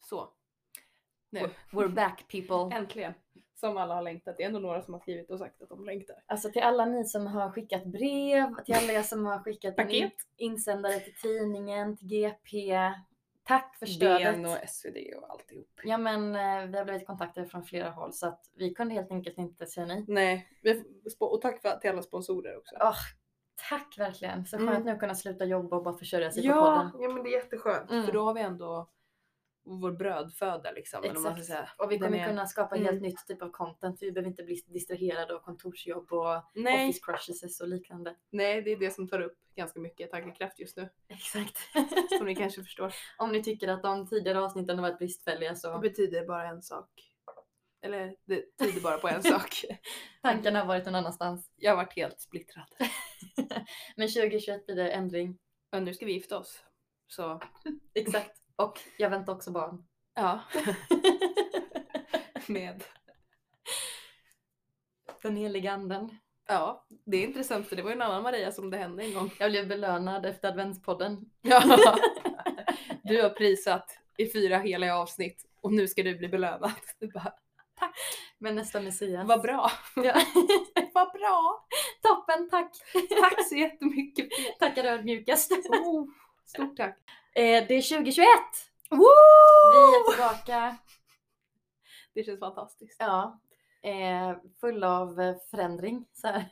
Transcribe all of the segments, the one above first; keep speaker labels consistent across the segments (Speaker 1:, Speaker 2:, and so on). Speaker 1: Så. Nu.
Speaker 2: We're- We're back people.
Speaker 1: Äntligen. Som alla har längtat. Det är ändå några som har skrivit och sagt att de längtar.
Speaker 2: Alltså till alla ni som har skickat brev, till alla er som har skickat en
Speaker 1: Paket.
Speaker 2: insändare till tidningen, till GP. Tack för
Speaker 1: DN
Speaker 2: stödet.
Speaker 1: och SvD och alltihop.
Speaker 2: Ja men eh, vi har blivit kontaktade från flera håll så att vi kunde helt enkelt inte säga nej.
Speaker 1: Nej, vi, sp- och tack för, till alla sponsorer också.
Speaker 2: Åh, tack verkligen. Så
Speaker 1: Mm.
Speaker 2: skönt nu att kunna sluta jobba och bara försörja
Speaker 1: alltså,
Speaker 2: sig på
Speaker 1: Ja,
Speaker 2: podden.
Speaker 1: ja, men det är jätteskönt.
Speaker 2: Mm.
Speaker 1: För då har vi ändå vår brödföda liksom. eller vad man
Speaker 2: Exakt.
Speaker 1: ska säga.
Speaker 2: Och vi
Speaker 1: Den
Speaker 2: kommer
Speaker 1: är-
Speaker 2: kunna skapa
Speaker 1: Mm.
Speaker 2: helt nytt typ av content. Vi behöver inte bli distraherade av kontorsjobb och
Speaker 1: Nej,
Speaker 2: office crushes och liknande.
Speaker 1: nej, det är det som tar upp ganska mycket tankekraft just nu.
Speaker 2: Exakt.
Speaker 1: Som ni kanske förstår.
Speaker 2: Om ni tycker att de tidigare avsnitten har varit bristfälliga
Speaker 1: Det
Speaker 2: så
Speaker 1: betyder bara en sak. Eller det tyder bara på en sak.
Speaker 2: tankarna har varit någon annanstans.
Speaker 1: Jag har varit helt splittrad.
Speaker 2: Men 2021 blir det ändring.
Speaker 1: Men nu ska vi gifta oss. Så
Speaker 2: Exakt. Och jag väntar också barn.
Speaker 1: ja, med.
Speaker 2: Den heliga anden.
Speaker 1: Ja, det är intressant för det var ju en annan Maria som det hände en gång.
Speaker 2: Jag blev belönad efter adventspodden.
Speaker 1: Ja. Du har prisat i fyra hela avsnitt och nu ska du bli belönad. Du bara,
Speaker 2: Men nästa Messias.
Speaker 1: Vad bra!
Speaker 2: Ja.
Speaker 1: Vad bra!
Speaker 2: Toppen, tack!
Speaker 1: Tack så jättemycket!
Speaker 2: Tackar ödmjukast.
Speaker 1: Oh, stort tack!
Speaker 2: Eh, det är 2021! Vi är
Speaker 1: Woo!
Speaker 2: tillbaka.
Speaker 1: Det känns fantastiskt.
Speaker 2: Ja. Eh, full av eh, förändring. Så här.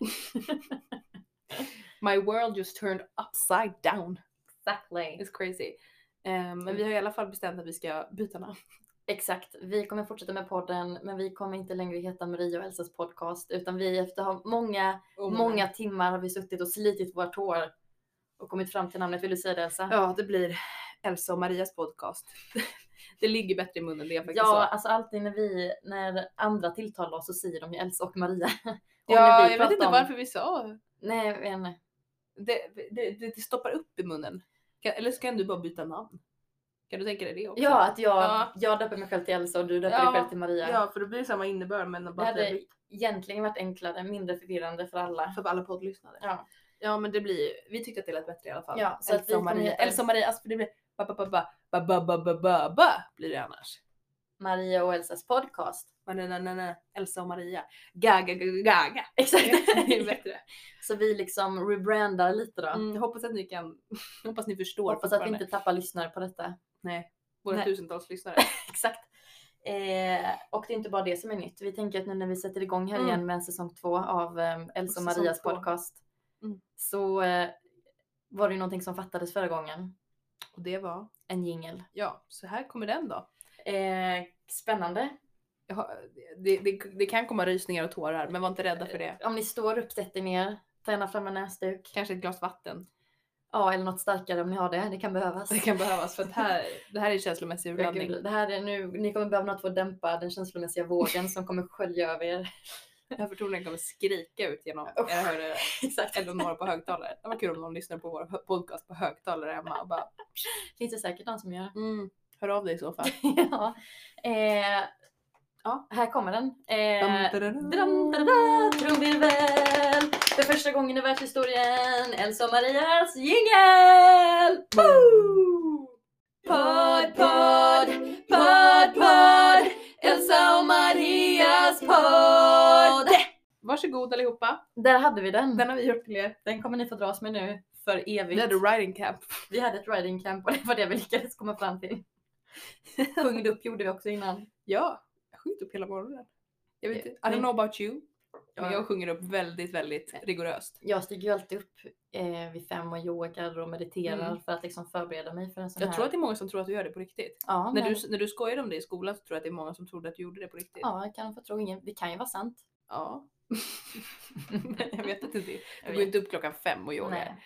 Speaker 1: My world just turned upside down.
Speaker 2: Exactly.
Speaker 1: It's crazy. Eh, men vi har i alla fall bestämt att vi ska byta namn.
Speaker 2: Exakt. Vi kommer fortsätta med podden, men vi kommer inte längre heta Maria och Elsas podcast, utan vi efter ha många, många timmar har vi suttit och slitit våra tår och kommit fram till namnet. Vill du säga det Elsa?
Speaker 1: Ja, det blir Elsa och Marias podcast. Det ligger bättre i munnen, det är faktiskt
Speaker 2: Ja,
Speaker 1: så.
Speaker 2: alltså alltid när vi, när andra tilltalar oss så säger de ju Elsa och Maria. Och när
Speaker 1: Ja,
Speaker 2: vi
Speaker 1: jag vet
Speaker 2: pratar
Speaker 1: inte
Speaker 2: om-
Speaker 1: varför vi sa
Speaker 2: Nej, men
Speaker 1: det, det, det. Det stoppar upp i munnen. Kan, eller så kan du bara byta namn. Kan du tänka dig det också?
Speaker 2: Ja, att jag,
Speaker 1: Ja.
Speaker 2: jag döper mig själv till Elsa och du döper
Speaker 1: Ja,
Speaker 2: dig själv till Maria.
Speaker 1: ja för då blir det samma innebörd men
Speaker 2: det
Speaker 1: bara
Speaker 2: hade
Speaker 1: trevligt
Speaker 2: egentligen varit enklare, mindre förvirrande för alla.
Speaker 1: för alla poddlyssnare.
Speaker 2: Ja.
Speaker 1: Ja men det blir, vi tyckte att det lät bättre i alla fall.
Speaker 2: Ja, så att vi
Speaker 1: Elsa och
Speaker 2: kommer
Speaker 1: Maria,
Speaker 2: heta-
Speaker 1: Elsa och Maria, alltså för det blir ba ba ba ba ba ba ba ba ba ba blir det annars.
Speaker 2: Maria och Elsas podcast.
Speaker 1: Men nej, nej, nej, nej, Elsa och Maria, ga ga ga ga, ga.
Speaker 2: Exakt.
Speaker 1: Det är bättre.
Speaker 2: så vi liksom rebrandar lite då.
Speaker 1: Mm, jag hoppas att ni kan, jag hoppas ni förstår
Speaker 2: Hoppas att vi
Speaker 1: fortfarande.
Speaker 2: inte tappar lyssnare på detta.
Speaker 1: våra
Speaker 2: Nej.
Speaker 1: tusentals lyssnare.
Speaker 2: Exakt. Eh, och det är inte bara det som är nytt. Vi tänker att nu när vi sätter igång här
Speaker 1: Mm.
Speaker 2: igen med säsong två av eh, Elsa och
Speaker 1: Säsong
Speaker 2: Marias
Speaker 1: två.
Speaker 2: podcast.
Speaker 1: Mm.
Speaker 2: Så eh, var det ju någonting som fattades förra gången.
Speaker 1: Och det var,
Speaker 2: En jingel.
Speaker 1: ja, så här kommer den då.
Speaker 2: Eh, spännande.
Speaker 1: Jag har, det, det, det kan komma rysningar och tårar men var inte rädda för det.
Speaker 2: Eh, Om ni står upp, sätt er ner. Ta gärna fram en näsduk.
Speaker 1: Kanske ett glas vatten.
Speaker 2: Ja, eller något starkare om ni har det. Det kan behövas.
Speaker 1: Det kan behövas för att här, det här är känslomässig
Speaker 2: Ja,
Speaker 1: urladdning.
Speaker 2: gud, det här är nu, ni kommer behöva något för att dämpa den känslomässiga vågen som kommer skölja över er.
Speaker 1: Övertonen kommer skrika ut genom
Speaker 2: Usch.
Speaker 1: era hörlurar
Speaker 2: Exakt.
Speaker 1: eller några på högtalare. Det var kul om någon lyssnar på vår podcast på högtalare hemma och bara
Speaker 2: Finns det säkert någon som gör.
Speaker 1: mm, hör av dig i så fall.
Speaker 2: ja. Eh, ja, här kommer den. Eh, dram,
Speaker 1: Dum-dum-dum.
Speaker 2: dadada, Trumvirvel! För första gången i världshistorien, Elsa och Marias jingel! Woo! Podd, podd, podd, podd! Elsa och Marias podd!
Speaker 1: Varsågod allihopa.
Speaker 2: Där hade vi den.
Speaker 1: Den har vi gjort till er.
Speaker 2: Den kommer ni få dras med nu för
Speaker 1: Vi
Speaker 2: evigt.
Speaker 1: hade riding camp.
Speaker 2: Vi hade ett riding camp och det var det vi lyckades komma fram till. Sjungde upp gjorde vi också innan.
Speaker 1: Ja, jag sjunger upp hela morgonen. Jag vet inte, I don't
Speaker 2: Men-
Speaker 1: know about you. Men
Speaker 2: Eh, Ja. Eh.
Speaker 1: jag sjunger upp väldigt, väldigt rigoröst.
Speaker 2: Jag stiger ju alltid upp eh, vid fem och yogar och mediterar
Speaker 1: Mm.
Speaker 2: för att liksom förbereda mig för en sån
Speaker 1: Jag
Speaker 2: här.
Speaker 1: tror att det är många som tror att du gör det på riktigt.
Speaker 2: ja,
Speaker 1: När
Speaker 2: men-
Speaker 1: du, när du skojade om det i skolan så tror jag att det är många som trodde att du gjorde det på riktigt.
Speaker 2: ja, jag kan få tro ingen. Det kan ju vara sant.
Speaker 1: Ja. jag vet inte. Det
Speaker 2: Jag
Speaker 1: Du
Speaker 2: vet.
Speaker 1: går inte upp klockan fem och yogar.
Speaker 2: Nej.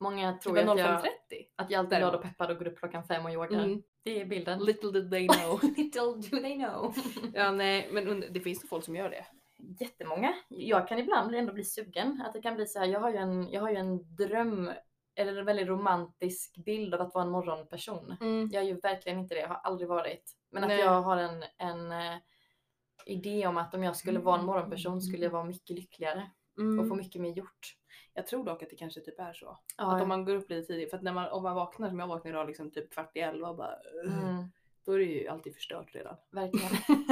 Speaker 2: Många tror
Speaker 1: Klockan
Speaker 2: ju att
Speaker 1: 05.30.
Speaker 2: jag, att jag alltid är
Speaker 1: Däremot.
Speaker 2: glad och peppad och går upp klockan fem och yogar.
Speaker 1: Mm.
Speaker 2: Det är bilden.
Speaker 1: Little did they know.
Speaker 2: Little do they know.
Speaker 1: ja, nej, men und- det finns ju folk som gör det.
Speaker 2: jättemånga. Jag kan ibland ändå bli sugen. Att det kan bli så här, jag har ju en, jag har ju en dröm eller en väldigt romantisk bild av att vara en morgonperson. Jag är ju verkligen inte det, jag har aldrig varit. Men att
Speaker 1: Nej.
Speaker 2: jag har en, en eh, idé om att om jag skulle vara en morgonperson skulle jag vara mycket lyckligare och få
Speaker 1: Mm.
Speaker 2: mycket mer gjort.
Speaker 1: Jag tror dock att det kanske typ är så.
Speaker 2: Ja,
Speaker 1: Att om man går upp lite tidigt, för att när man, om man vaknar som jag vaknar idag liksom typ kvart i elva och bara "Ugh",
Speaker 2: mm,
Speaker 1: Då är det ju alltid förstört redan.
Speaker 2: Verkligen.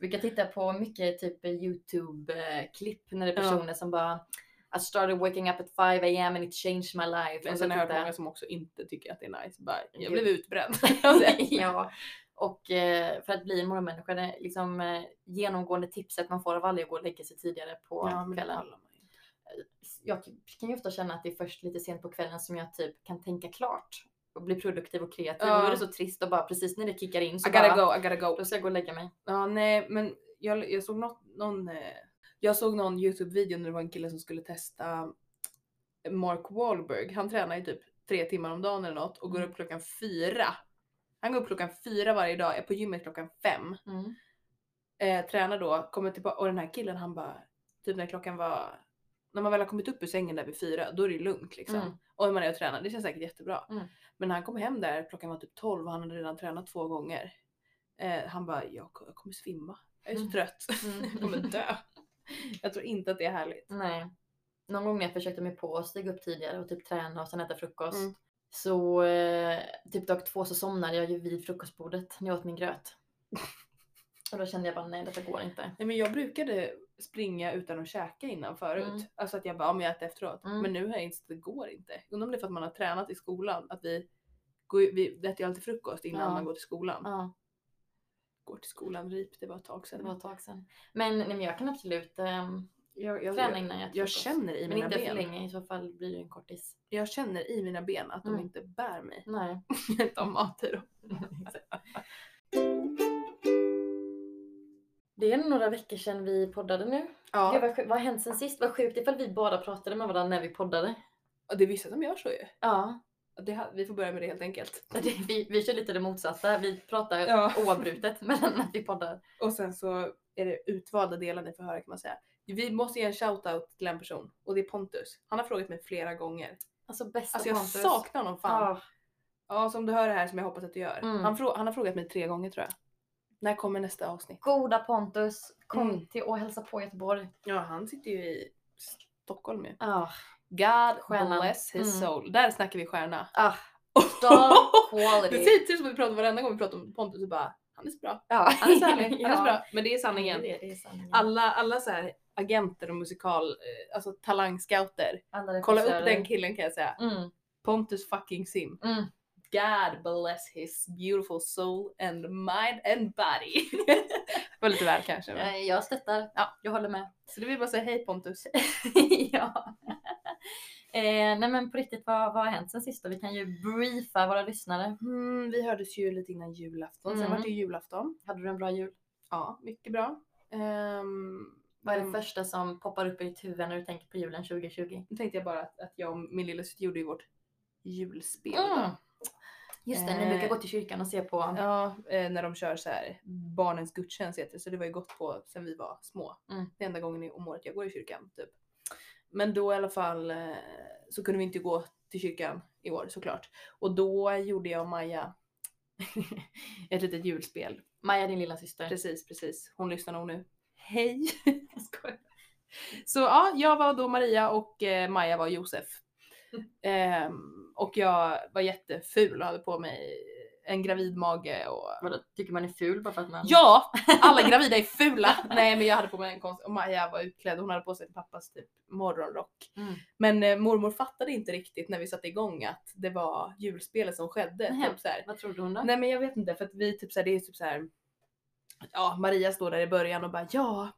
Speaker 2: Vi kan titta på mycket typ YouTube-klipp när det är
Speaker 1: Ja.
Speaker 2: personer som bara I started waking up at 5 am and it changed my life.
Speaker 1: Men sen
Speaker 2: Och så
Speaker 1: har jag hört
Speaker 2: tittar-
Speaker 1: många som också inte tycker att det är nice. Bara, jag
Speaker 2: Gud.
Speaker 1: blev utbränd.
Speaker 2: ja. Och eh, för att bli en morgonmänniska, det är liksom eh, genomgående tipset man får av alla är att gå och lägga sig tidigare på
Speaker 1: Ja, men det
Speaker 2: kvällen.
Speaker 1: pallar man ju inte.
Speaker 2: Jag kan ju ofta känna att det är först lite sent på kvällen som jag typ kan tänka klart och bli produktiv och kreativ.
Speaker 1: Ja.
Speaker 2: Och då är det så trist och bara precis när det kickar in så
Speaker 1: I gotta
Speaker 2: bara,
Speaker 1: go, I gotta go.
Speaker 2: då ska jag gå och lägga mig.
Speaker 1: Ja, nej, men jag, jag såg något, någon, eh, jag såg någon Youtube-video när det var en kille som skulle testa Mark Wahlberg. Han tränar ju typ tre timmar om dagen eller något och går
Speaker 2: Mm.
Speaker 1: upp klockan fyra. Han går upp klockan fyra varje dag, är på gymmet klockan fem.
Speaker 2: Mm.
Speaker 1: Eh, tränar då, kommer tillbaka och den här killen han bara, typ när klockan var, när man väl har kommit upp ur sängen där vid fyra, då är det ju lugnt liksom.
Speaker 2: Mm.
Speaker 1: Och man är och tränar, det känns säkert jättebra.
Speaker 2: Mm.
Speaker 1: Men när han kom hem där, klockan var typ 12 och han hade redan tränat två gånger. Eh, han bara, jag, jag kommer svimma. Jag är så
Speaker 2: Mm.
Speaker 1: trött.
Speaker 2: Mm.
Speaker 1: jag kommer dö. Jag tror inte att det är härligt.
Speaker 2: Nej. Någon gång när jag försökte mig på att stiga upp tidigare och typ träna och sen äta frukost.
Speaker 1: Mm.
Speaker 2: Så eh, typ dag två så somnade jag ju vid frukostbordet när jag åt min gröt. Och då kände jag bara nej detta går inte.
Speaker 1: Nej, men jag brukade springa utan att käka innan förut.
Speaker 2: Mm.
Speaker 1: Alltså att jag bara, ja, men jag äter efteråt.
Speaker 2: Mm.
Speaker 1: Men nu har jag insett att det går inte. Undrar om det är för att man har tränat i skolan. Att vi, går, ju- vi äter ju alltid frukost innan
Speaker 2: Ja.
Speaker 1: man går till skolan.
Speaker 2: Ja,
Speaker 1: Går till skolan RIP, det var ett tag
Speaker 2: det
Speaker 1: sedan.
Speaker 2: var ett tag sedan. Men, nej, men jag kan absolut ehm,
Speaker 1: Jag, jag,
Speaker 2: träna
Speaker 1: jag,
Speaker 2: innan jag äter
Speaker 1: jag
Speaker 2: frukost.
Speaker 1: känner i
Speaker 2: Men
Speaker 1: mina
Speaker 2: inte för
Speaker 1: ben.
Speaker 2: länge i så fall blir det ju en kortis.
Speaker 1: Jag känner i mina ben att de
Speaker 2: Mm.
Speaker 1: inte bär mig.
Speaker 2: Nej.
Speaker 1: Inte av mat i dem.
Speaker 2: Det är några veckor sedan vi poddade nu. Gud,
Speaker 1: Ja,
Speaker 2: vad, sjuk- vad har hänt sen sist? Vad sjukt ifall vi bara pratade med varandra när vi poddade.
Speaker 1: och det är vissa som gör så ju.
Speaker 2: Ja,
Speaker 1: Det, ha- vi får börja med det helt enkelt.
Speaker 2: Ja, det- Vi, vi kör lite det motsatta. Vi pratar
Speaker 1: Ja.
Speaker 2: oavbrutet mellan när vi poddar.
Speaker 1: Och sen så är det utvalda delar ni får höra kan man säga. Vi måste ge en shoutout till en person och det är Pontus. Han har frågat mig flera gånger.
Speaker 2: Alltså bästa
Speaker 1: Alltså jag
Speaker 2: Pontus.
Speaker 1: saknar honom fan.
Speaker 2: Ja,
Speaker 1: Ja, som du hör det här som jag hoppas att du gör.
Speaker 2: Mm.
Speaker 1: Han, frå- han har frågat mig tre gånger tror jag. När kommer nästa avsnitt?
Speaker 2: goda Pontus, kom
Speaker 1: Mm.
Speaker 2: till och hälsa på Göteborg.
Speaker 1: Ja, han sitter ju i Stockholm ju.
Speaker 2: Ah,
Speaker 1: God
Speaker 2: Stjärnan.
Speaker 1: bless his
Speaker 2: Mm.
Speaker 1: soul. Där snackar vi stjärna.
Speaker 2: ah, star
Speaker 1: det
Speaker 2: quality.
Speaker 1: ser ut som att vi pratar varenda gång vi pratar om Pontus och bara han är så bra.
Speaker 2: Ja.
Speaker 1: Han är så härlig. Han är så
Speaker 2: Ja.
Speaker 1: bra. Men det är sanningen.
Speaker 2: Det är, det är sanningen.
Speaker 1: Alla, alla så här agenter och musikal, eh, alltså talangscouter.
Speaker 2: Alla
Speaker 1: Kolla
Speaker 2: regissörer.
Speaker 1: upp den killen kan jag säga.
Speaker 2: Mm,
Speaker 1: Pontus fucking Sim.
Speaker 2: mm.
Speaker 1: God bless his beautiful soul and mind and body. var lite väl kanske. Men.
Speaker 2: Eh, Jag stöttar.
Speaker 1: Ja.
Speaker 2: Jag håller med.
Speaker 1: Så det vill bara säga hej Pontus.
Speaker 2: ja. Eh, nej men på riktigt, vad, vad har hänt sen sist då? Vi kan ju briefa våra lyssnare.
Speaker 1: Mm, vi hördes ju lite innan julafton, sen
Speaker 2: Mm.
Speaker 1: var det ju julafton.
Speaker 2: Hade du en bra jul?
Speaker 1: Ja, mycket bra. Um,
Speaker 2: Vad är det första som poppar upp i ditt huvud när du tänker på julen 2020?
Speaker 1: Nu tänkte jag bara att, att jag och min lillasyster gjorde ju vårt julspel.
Speaker 2: Mm.
Speaker 1: då.
Speaker 2: Just det, ni
Speaker 1: Eh,
Speaker 2: brukar gå till kyrkan och se på.
Speaker 1: Ja, eh, när de kör så här barnens gudstjänst heter det, så det var ju gått på sen vi var små.
Speaker 2: Mm.
Speaker 1: Det är enda gången i- om året jag går i kyrkan typ. Men då i alla fall eh, så kunde vi inte gå till kyrkan i år såklart. Och då gjorde jag och Maja ett litet julspel.
Speaker 2: Maja, din lilla syster.
Speaker 1: Precis, precis. Hon lyssnar nog nu. Hej!
Speaker 2: Jag skojar.
Speaker 1: Så ja, jag var då Maria och eh, Maja var Josef. Ehm, och jag var jätteful och hade på mig en gravid mage och
Speaker 2: Vadå, tycker man är ful bara för att man...
Speaker 1: Ja! Alla gravida är fula! Nej men jag hade på mig en konst och Maja var utklädd, hon hade på sig pappas typ morgonrock.
Speaker 2: Mm.
Speaker 1: Men eh, mormor fattade inte riktigt när vi satte igång att det var julspelet som skedde.
Speaker 2: Nähä.
Speaker 1: Typ så här.
Speaker 2: Vad trodde hon då?
Speaker 1: Nej men jag vet inte för att vi typ så här, det är typ så här. Ja, Maria står där i början och bara ja,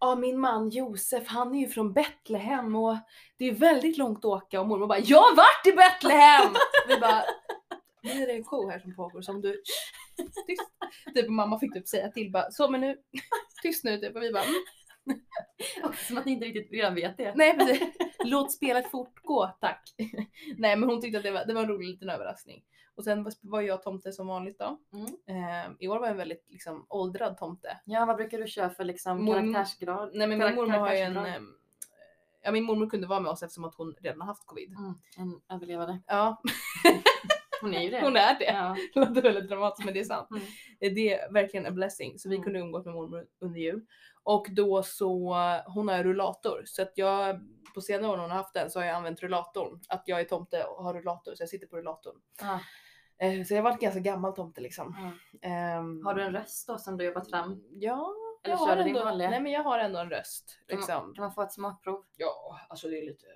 Speaker 1: ja min man Josef han är ju från Betlehem och det är väldigt långt att åka och mormor bara jag har varit i Betlehem! vi bara nu är det en show här som pågår som du tyst. Typ och mamma fick typ säga till bara så men nu tyst nu typ och vi bara mm,
Speaker 2: Och Som att ni inte riktigt redan vet det.
Speaker 1: nej precis låt spelet fortgå tack. nej men hon tyckte att det var, det var en rolig liten överraskning. Och sen var- var jag tomte som vanligt då.
Speaker 2: Mm.
Speaker 1: Eh, I år var jag en väldigt liksom, åldrad tomte.
Speaker 2: Ja, vad brukar du köra för liksom
Speaker 1: Mormor-
Speaker 2: karaktärsgrad?
Speaker 1: Nej men min
Speaker 2: Karak-
Speaker 1: mormor har ju en...
Speaker 2: karaktärsdrag.
Speaker 1: ehm, Ja min mormor kunde vara med oss eftersom att hon redan har haft covid.
Speaker 2: Mm, en överlevare.
Speaker 1: Ja,
Speaker 2: Hon är ju det.
Speaker 1: hon är det.
Speaker 2: Ja.
Speaker 1: Det låter väldigt dramatiskt men det är sant.
Speaker 2: Mm.
Speaker 1: Eh, Det är verkligen en blessing. Så vi
Speaker 2: Mm.
Speaker 1: kunde umgås med mormor under jul. Och då så, hon har rullator. Så att jag, på senare år när hon har haft den så har jag använt rullatorn. Att jag är tomte och har rullator så jag sitter på rullatorn.
Speaker 2: Ah.
Speaker 1: Eh, Så jag var en ganska gammal tomte liksom.
Speaker 2: Mm.
Speaker 1: Ehm,
Speaker 2: Har du en röst då som du jobbat fram?
Speaker 1: Ja,
Speaker 2: Eller
Speaker 1: jag
Speaker 2: kör
Speaker 1: har,
Speaker 2: du din
Speaker 1: ändå,
Speaker 2: vanliga? Mm.
Speaker 1: nej, men jag har ändå en röst.
Speaker 2: Kan man-
Speaker 1: Liksom.
Speaker 2: Kan man få ett smakprov?
Speaker 1: Ja, alltså det är lite...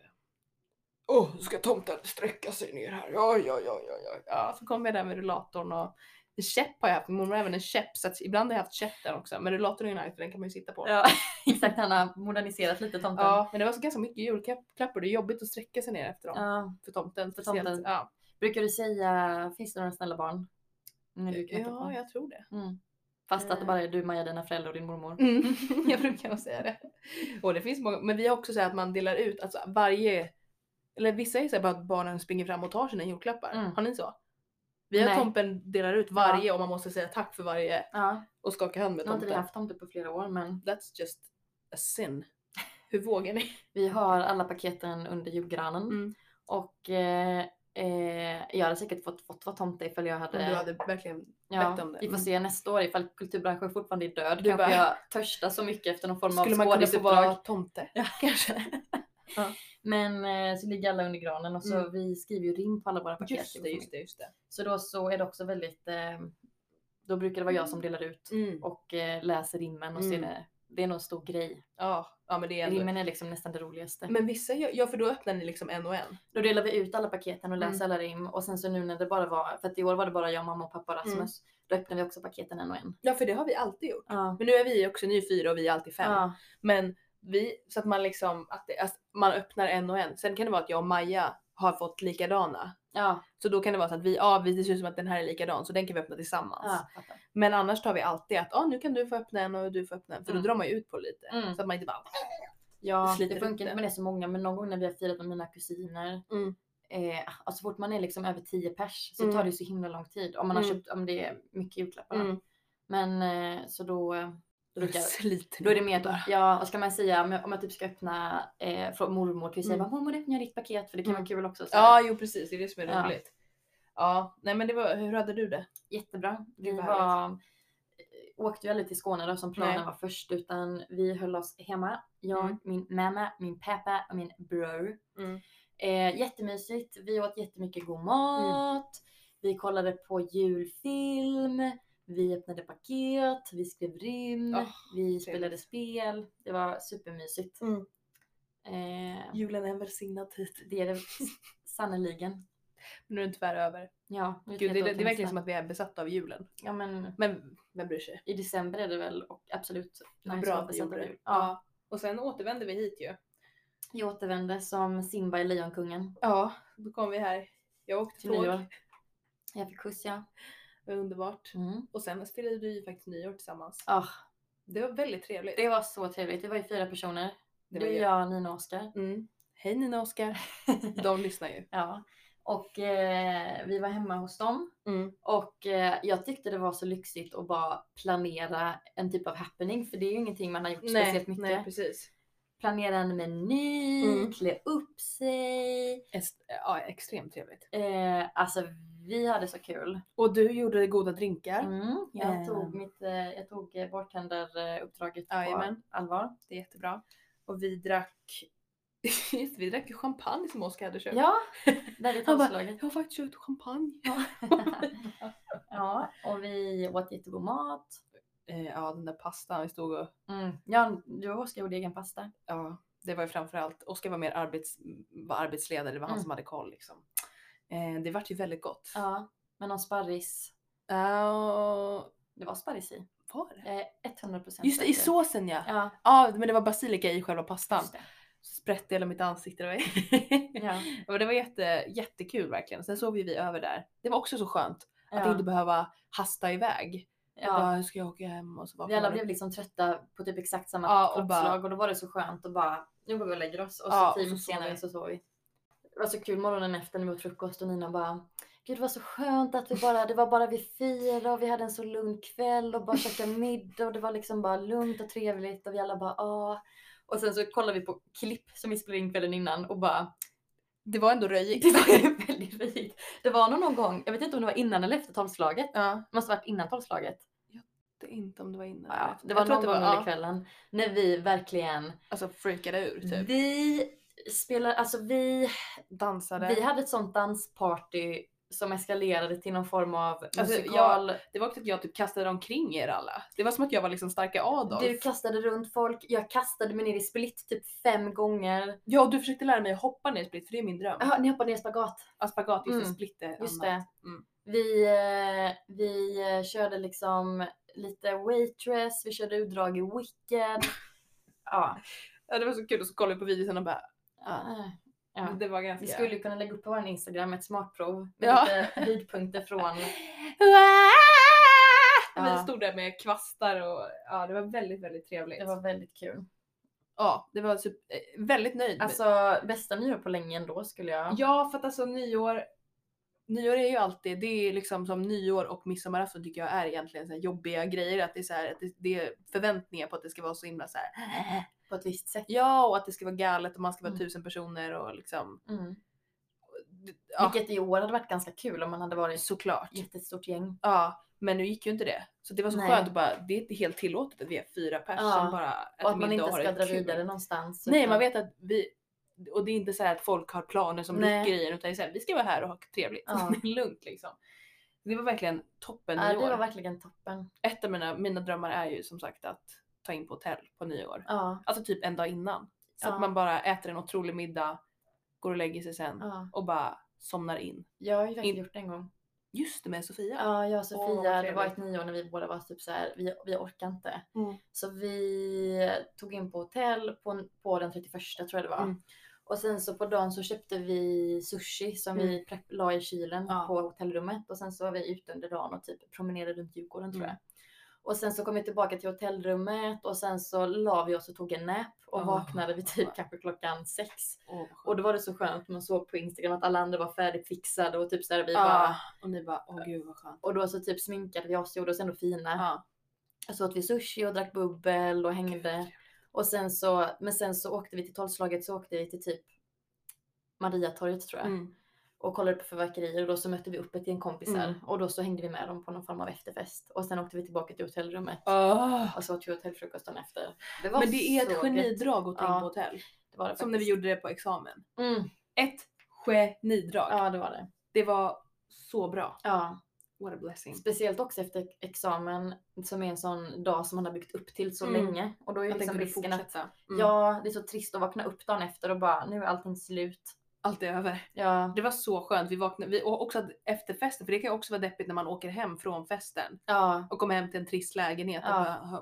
Speaker 1: Åh, oh, ska tomten sträcka sig ner här? Ja, ja, ja, ja, ja. Ja, så kommer jag där med rullatorn och en käpp har jag haft. Min Mormor har även en käpp, så att ibland har jag haft käpp där också. Men rullatorn är ju nice, för den kan man ju sitta på.
Speaker 2: Ja, exakt. Han har moderniserat lite tomten.
Speaker 1: Ja, men det var så ganska mycket julklappar. Det är jobbigt att sträcka sig ner efter dem.
Speaker 2: Ja.
Speaker 1: För tomten.
Speaker 2: För
Speaker 1: speciellt.
Speaker 2: tomten.
Speaker 1: Ja.
Speaker 2: Brukar du säga, finns det några snälla barn? När du knackar på?
Speaker 1: Eh, ja, Eh. jag tror det.
Speaker 2: Mm. Fast att det bara är du, Maja, dina föräldrar och din mormor.
Speaker 1: Mm. jag brukar nog säga det. Och det finns många, men vi har också så här att man delar ut, alltså varje, eller vissa är så här bara att barnen springer fram och tar sina julklappar.
Speaker 2: Mm.
Speaker 1: Har ni så? Vi har
Speaker 2: Nej.
Speaker 1: tomten delar ut varje och man måste säga tack för varje
Speaker 2: Ja,
Speaker 1: och skaka hand med
Speaker 2: nu har inte vi
Speaker 1: tomten.
Speaker 2: haft tomte på flera år, men
Speaker 1: That's just a sin. Hur vågar ni?
Speaker 2: vi har alla paketen under julgranen.
Speaker 1: Mm.
Speaker 2: Och eh, eh, jag hade säkert fått, fått vara tomte ifall jag hade...
Speaker 1: Om du hade verkligen,
Speaker 2: ja,
Speaker 1: bett om det.
Speaker 2: Vi får
Speaker 1: Mm.
Speaker 2: se nästa år ifall kulturbranschen fortfarande är död.
Speaker 1: Du
Speaker 2: kanske
Speaker 1: bara-
Speaker 2: jag törstar så mycket efter någon form av
Speaker 1: skulle man kunna få vara
Speaker 2: skådisuppdrag.
Speaker 1: tomte?
Speaker 2: Ja.
Speaker 1: Kanske.
Speaker 2: Men eh, så ligger alla under granen och så
Speaker 1: Mm.
Speaker 2: vi skriver ju rim på alla våra paket.
Speaker 1: Just det, just det, just det.
Speaker 2: Så då så är det också väldigt... Eh, då brukar det vara jag som delar ut
Speaker 1: Mm.
Speaker 2: och eh, läser rimmen och så är
Speaker 1: Mm.
Speaker 2: det, det är nog en stor grej.
Speaker 1: Ja, ja, men det är ändå.
Speaker 2: Rimmen är liksom nästan det roligaste.
Speaker 1: Men vissa, gör- ja för då öppnar ni liksom en och en.
Speaker 2: Då delar vi ut alla paketen och
Speaker 1: Mm.
Speaker 2: läser alla rim och sen så nu när det bara var, för att i år var det bara jag, mamma och pappa och
Speaker 1: Mm.
Speaker 2: Rasmus, då öppnar vi också paketen en och en.
Speaker 1: Ja för det har vi alltid gjort.
Speaker 2: Ja.
Speaker 1: Men nu är vi också, ni är fyra och vi är alltid fem.
Speaker 2: Ja.
Speaker 1: Men vi, så att man liksom, att det, att man öppnar en och en. Sen kan det vara att jag och Maja har fått likadana.
Speaker 2: Ja.
Speaker 1: Så då kan det vara så att vi, ja vi, det ser ut som att den här är likadan så den kan vi öppna tillsammans.
Speaker 2: ja. fattar.
Speaker 1: Men annars tar vi alltid att, ja nu kan du få öppna en och du får öppna en. För
Speaker 2: Mm.
Speaker 1: då drar man ju ut på lite.
Speaker 2: Mm.
Speaker 1: Så att man inte bara,
Speaker 2: ja
Speaker 1: sliter
Speaker 2: det
Speaker 1: upp
Speaker 2: funkar inte
Speaker 1: det.
Speaker 2: men det är så många, men någon gång när vi har firat med mina kusiner,
Speaker 1: Mm.
Speaker 2: eh, alltså så fort man är liksom över 10 pers så
Speaker 1: Mm.
Speaker 2: tar det ju så himla lång tid om man har
Speaker 1: Mm.
Speaker 2: köpt, om det är mycket julklappar.
Speaker 1: mm.
Speaker 2: Men eh, så då, eh, brukar-
Speaker 1: sliter
Speaker 2: då är det mer
Speaker 1: bara.
Speaker 2: att, ja vad ska man säga, om jag, om jag typ ska öppna eh, från mormor till vi säger
Speaker 1: Mm.
Speaker 2: bara mormor öppnar ditt paket för det kan
Speaker 1: Mm.
Speaker 2: vara kul också. Så här.
Speaker 1: Ja jo precis, det är det som är
Speaker 2: Ja.
Speaker 1: roligt. Ja, nej men det var, hur hade du det?
Speaker 2: Jättebra. Vi
Speaker 1: Gud, vad
Speaker 2: var, eh, åkte ju aldrig till Skåne då som planen
Speaker 1: Nej.
Speaker 2: var först utan vi höll oss hemma. Jag,
Speaker 1: Mm.
Speaker 2: min mamma, min pappa och min bror.
Speaker 1: Mm.
Speaker 2: Eh, jättemysigt. Vi åt jättemycket god mat. Vi kollade på julfilm. Vi öppnade paket. Vi skrev rim.
Speaker 1: Åh,
Speaker 2: vi spelade spel. Det var supermysigt.
Speaker 1: Mm.
Speaker 2: Eh,
Speaker 1: Julen är en välsignad tid.
Speaker 2: det är det sannerligen.
Speaker 1: Nu är den tyvärr över.
Speaker 2: Ja, nu är
Speaker 1: Gud,
Speaker 2: ett
Speaker 1: det,
Speaker 2: år
Speaker 1: det,
Speaker 2: till
Speaker 1: det är verkligen
Speaker 2: nästa.
Speaker 1: som att vi är besatta av julen.
Speaker 2: Ja, men
Speaker 1: Men vem bryr sig?
Speaker 2: I december är det väl och absolut
Speaker 1: Vad
Speaker 2: nice
Speaker 1: bra
Speaker 2: att
Speaker 1: att vi
Speaker 2: presentera
Speaker 1: gjorde det.
Speaker 2: jul. Ja.
Speaker 1: Ja. Och sen återvänder vi hit ju.
Speaker 2: Jag återvände som Simba i Lejonkungen
Speaker 1: Ja, då kom vi här. Jag åkte
Speaker 2: till
Speaker 1: tåg.
Speaker 2: nyår. Jag fick puss ja.
Speaker 1: Det var underbart.
Speaker 2: Mm.
Speaker 1: Och sen spelade vi ju faktiskt nyår tillsammans.
Speaker 2: Ah,
Speaker 1: Det var väldigt trevligt.
Speaker 2: det var så trevligt. Vi var ju fyra personer.
Speaker 1: Det var
Speaker 2: du,
Speaker 1: ju-
Speaker 2: jag, Nina och Oskar.
Speaker 1: Mm. Hej Nina och Oskar. De lyssnar ju.
Speaker 2: ja. Och eh, vi var hemma hos dem.
Speaker 1: Mm.
Speaker 2: Och eh, jag tyckte det var så lyxigt att bara planera en typ av happening. För det är ju ingenting man har gjort speciellt mycket.
Speaker 1: nej precis.
Speaker 2: planera en meny,
Speaker 1: Mm.
Speaker 2: klä upp sig.
Speaker 1: Est- ja, extremt trevligt.
Speaker 2: Eh, alltså vi hade så kul.
Speaker 1: Och du gjorde goda drinkar.
Speaker 2: Mm, jag,
Speaker 1: Ehm.
Speaker 2: tog mitt, eh, jag tog eh, bartenderuppdraget på
Speaker 1: Jajamän.
Speaker 2: allvar.
Speaker 1: Det är jättebra. Och vi drack Just, vi drack ju champagne som Oskar hade köpt.
Speaker 2: Ja, där i
Speaker 1: Han bara,
Speaker 2: tolvslaget.
Speaker 1: Jag har faktiskt köpt champagne.
Speaker 2: ja, och vi åt jättegod mat.
Speaker 1: Eh, ja, den där pastan vi stod och
Speaker 2: Mm. Ja, du och Oskar gjorde egen pasta.
Speaker 1: ja, det var ju framförallt, Oskar var mer arbets, var arbetsledare, det var han
Speaker 2: Mm.
Speaker 1: som hade koll liksom. Eh, det vart ju väldigt gott.
Speaker 2: Ja, men någon sparris.
Speaker 1: Ja,
Speaker 2: Det var sparris i.
Speaker 1: var det?
Speaker 2: Jag är 100%
Speaker 1: Just det, i
Speaker 2: säker.
Speaker 1: såsen ja.
Speaker 2: Ja,
Speaker 1: Ja, men det var basilika i själva pastan.
Speaker 2: just det.
Speaker 1: Så sprätte hela mitt ansikte. Det var,
Speaker 2: Ja,
Speaker 1: Och det var jätte, jättekul verkligen. Sen sov ju vi över där. Det var också så skönt att inte
Speaker 2: ja,
Speaker 1: behöva hasta iväg. Ja.
Speaker 2: ja.
Speaker 1: Bara, "Hur ska jag åka hem? Och så bara,
Speaker 2: Vi alla blev liksom trötta på typ exakt samma
Speaker 1: Ja, och
Speaker 2: klockslag
Speaker 1: bara-
Speaker 2: och då var det så skönt att bara nu går vi och lägger oss och så
Speaker 1: Ja, och
Speaker 2: tio
Speaker 1: så
Speaker 2: minuter
Speaker 1: sover
Speaker 2: senare
Speaker 1: vi.
Speaker 2: så sov vi. Det var så kul morgonen efter när vi åt frukost och Nina bara Gud det var så skönt att vi bara, det var bara vi fyra och vi hade en så lugn kväll och bara käkade middag och det var liksom bara lugnt och trevligt och vi alla bara ah. Och sen så kollade vi på klipp som vi spelade in kvällen innan och bara
Speaker 1: Det var ändå röjigt.
Speaker 2: det var ju väldigt fint. Det var nog någon gång, jag vet inte om det var innan eller efter tolvslaget.
Speaker 1: ja,
Speaker 2: Det måste ha varit innan tolvslaget.
Speaker 1: det är inte om det var innan. eller
Speaker 2: Ja,
Speaker 1: efter.
Speaker 2: det
Speaker 1: Jag
Speaker 2: var
Speaker 1: tror
Speaker 2: någon
Speaker 1: att
Speaker 2: gång under Mm.
Speaker 1: ja,
Speaker 2: kvällen när vi verkligen
Speaker 1: Alltså freakade ur typ.
Speaker 2: Vi spelar, alltså vi,
Speaker 1: Dansade.
Speaker 2: vi hade ett sånt dansparty som eskalerade till någon form av
Speaker 1: jag-
Speaker 2: musikal.
Speaker 1: Det var också att jag typ kastade omkring er alla. Det var som att jag var liksom starka Adolf.
Speaker 2: du kastade runt folk, jag kastade mig ner i split typ fem gånger.
Speaker 1: Ja, och du försökte lära mig att hoppa ner i split, för det är min dröm.
Speaker 2: Jaha, ni hoppade ner i spagat.
Speaker 1: Ja, spagat, just det,
Speaker 2: Mm,
Speaker 1: split är
Speaker 2: Just
Speaker 1: annat.
Speaker 2: det.
Speaker 1: Mm.
Speaker 2: Vi, eh, vi eh, körde liksom lite waitress, vi körde utdrag i wicked. ja.
Speaker 1: Ja, det var så kul och så kollade vi på videon och bara,
Speaker 2: ja. ja.
Speaker 1: det var ganska...
Speaker 2: Vi skulle ju kunna lägga upp på vår Instagram ett smakprov med
Speaker 1: Ja.
Speaker 2: lite höjdpunkter från...
Speaker 1: Vi
Speaker 2: Ja.
Speaker 1: stod där med kvastar och ja, det var väldigt, väldigt trevligt.
Speaker 2: Det var väldigt kul.
Speaker 1: Ja, det var sup- eh, väldigt nöjd. med-
Speaker 2: Alltså bästa nyår på länge ändå skulle jag...
Speaker 1: Ja, för att alltså nyår, nyår är ju alltid, det är liksom som nyår och midsommarafton tycker jag är egentligen så här jobbiga grejer. Att det är, så här, att det, det är förväntningar på att det ska vara så himla så här.
Speaker 2: På ett visst sätt.
Speaker 1: Ja, och att det ska vara galet och man ska vara
Speaker 2: Mm.
Speaker 1: tusen personer och liksom.
Speaker 2: Mm.
Speaker 1: Ja,
Speaker 2: Vilket i år hade varit ganska kul om man hade varit
Speaker 1: såklart.
Speaker 2: ett jättestort gäng.
Speaker 1: Ja, men nu gick ju inte det. Så det var så
Speaker 2: Nej.
Speaker 1: skönt att bara, det är inte helt tillåtet att vi är fyra personer
Speaker 2: Ja,
Speaker 1: bara. äter
Speaker 2: Och att man
Speaker 1: middag
Speaker 2: inte
Speaker 1: och har
Speaker 2: ska
Speaker 1: det
Speaker 2: dra
Speaker 1: kul.
Speaker 2: vidare någonstans.
Speaker 1: Nej,
Speaker 2: utan-
Speaker 1: man vet att vi, och det är inte så här att folk har planer som
Speaker 2: Nej.
Speaker 1: rycker i en utan det är så här, vi ska vara här och ha trevligt.
Speaker 2: Ja.
Speaker 1: Det är lugnt liksom. Det var verkligen toppen
Speaker 2: Ja, det
Speaker 1: nyår.
Speaker 2: var verkligen toppen.
Speaker 1: Ett av mina, mina drömmar är ju som sagt att ta in på hotell på nyår.
Speaker 2: Ja.
Speaker 1: Alltså typ en dag innan. Så
Speaker 2: Ja.
Speaker 1: att man bara äter en otrolig middag, går och lägger sig sen
Speaker 2: ja.
Speaker 1: och bara somnar in.
Speaker 2: Jag har ju faktiskt
Speaker 1: In-
Speaker 2: gjort det en gång.
Speaker 1: Just det med Sofia.
Speaker 2: Ja, jag och
Speaker 1: Åh, vad
Speaker 2: Sofia, det var ett
Speaker 1: trevligt.
Speaker 2: nyår när vi båda var typ så här, vi, vi orkar inte.
Speaker 1: Mm.
Speaker 2: Så vi tog in på hotell på, på den 31 tror jag det var.
Speaker 1: Mm.
Speaker 2: Och sen så på dagen så köpte vi sushi som
Speaker 1: Mm.
Speaker 2: vi prepp, la i kylen
Speaker 1: Ja.
Speaker 2: på hotellrummet. Och sen så var vi ute under dagen och typ promenerade runt Djurgården tror
Speaker 1: Mm.
Speaker 2: jag. Och sen så kom vi tillbaka till hotellrummet och sen så la vi oss och tog en nap och
Speaker 1: Åh.
Speaker 2: vaknade vid typ kanske klockan sex.
Speaker 1: Och,
Speaker 2: Och då var det så skönt, man såg på Instagram att alla andra var färdigfixade och typ så här, vi
Speaker 1: ah,
Speaker 2: bara...
Speaker 1: och ni bara, åh gud vad skönt.
Speaker 2: Och då så typ sminkade vi oss, gjorde oss ändå fina.
Speaker 1: Ja.
Speaker 2: Så åt vi sushi och drack bubbel och hängde. Och sen så, men sen så åkte vi till tolvslaget så åkte vi till typ Mariatorget tror jag.
Speaker 1: Mm.
Speaker 2: Och kollade på fyrverkerier och då så mötte vi upp ett gäng kompisar.
Speaker 1: Mm.
Speaker 2: Och då så hängde vi med dem på någon form av efterfest. Och sen åkte vi tillbaka till hotellrummet.
Speaker 1: Ah.
Speaker 2: Och så åt vi hotellfrukosten efter. Det var
Speaker 1: Men det är ett
Speaker 2: så gött.
Speaker 1: genidrag att ta in
Speaker 2: Ja.
Speaker 1: på hotell.
Speaker 2: Det var det
Speaker 1: Som när vi
Speaker 2: faktiskt.
Speaker 1: gjorde det på examen.
Speaker 2: Mm.
Speaker 1: ett genidrag.
Speaker 2: Ja det var det.
Speaker 1: Det var så bra.
Speaker 2: Ja.
Speaker 1: What a blessing.
Speaker 2: Speciellt också efter examen som är en sån dag som man har byggt upp till så
Speaker 1: Mm.
Speaker 2: länge. Och då är ju
Speaker 1: Att den
Speaker 2: liksom
Speaker 1: kunde
Speaker 2: risken att
Speaker 1: fortsätta. Mm.
Speaker 2: ja, det är så trist att vakna upp dagen efter och bara nu är allting slut.
Speaker 1: Allt är över.
Speaker 2: Ja,
Speaker 1: Det var så skönt. Vi vaknade, vi, och också att efter festen, för det kan ju också vara deppigt när man åker hem från festen
Speaker 2: ja,
Speaker 1: och kommer hem till en trist lägenhet. Och
Speaker 2: Ja.
Speaker 1: bara, "Hö."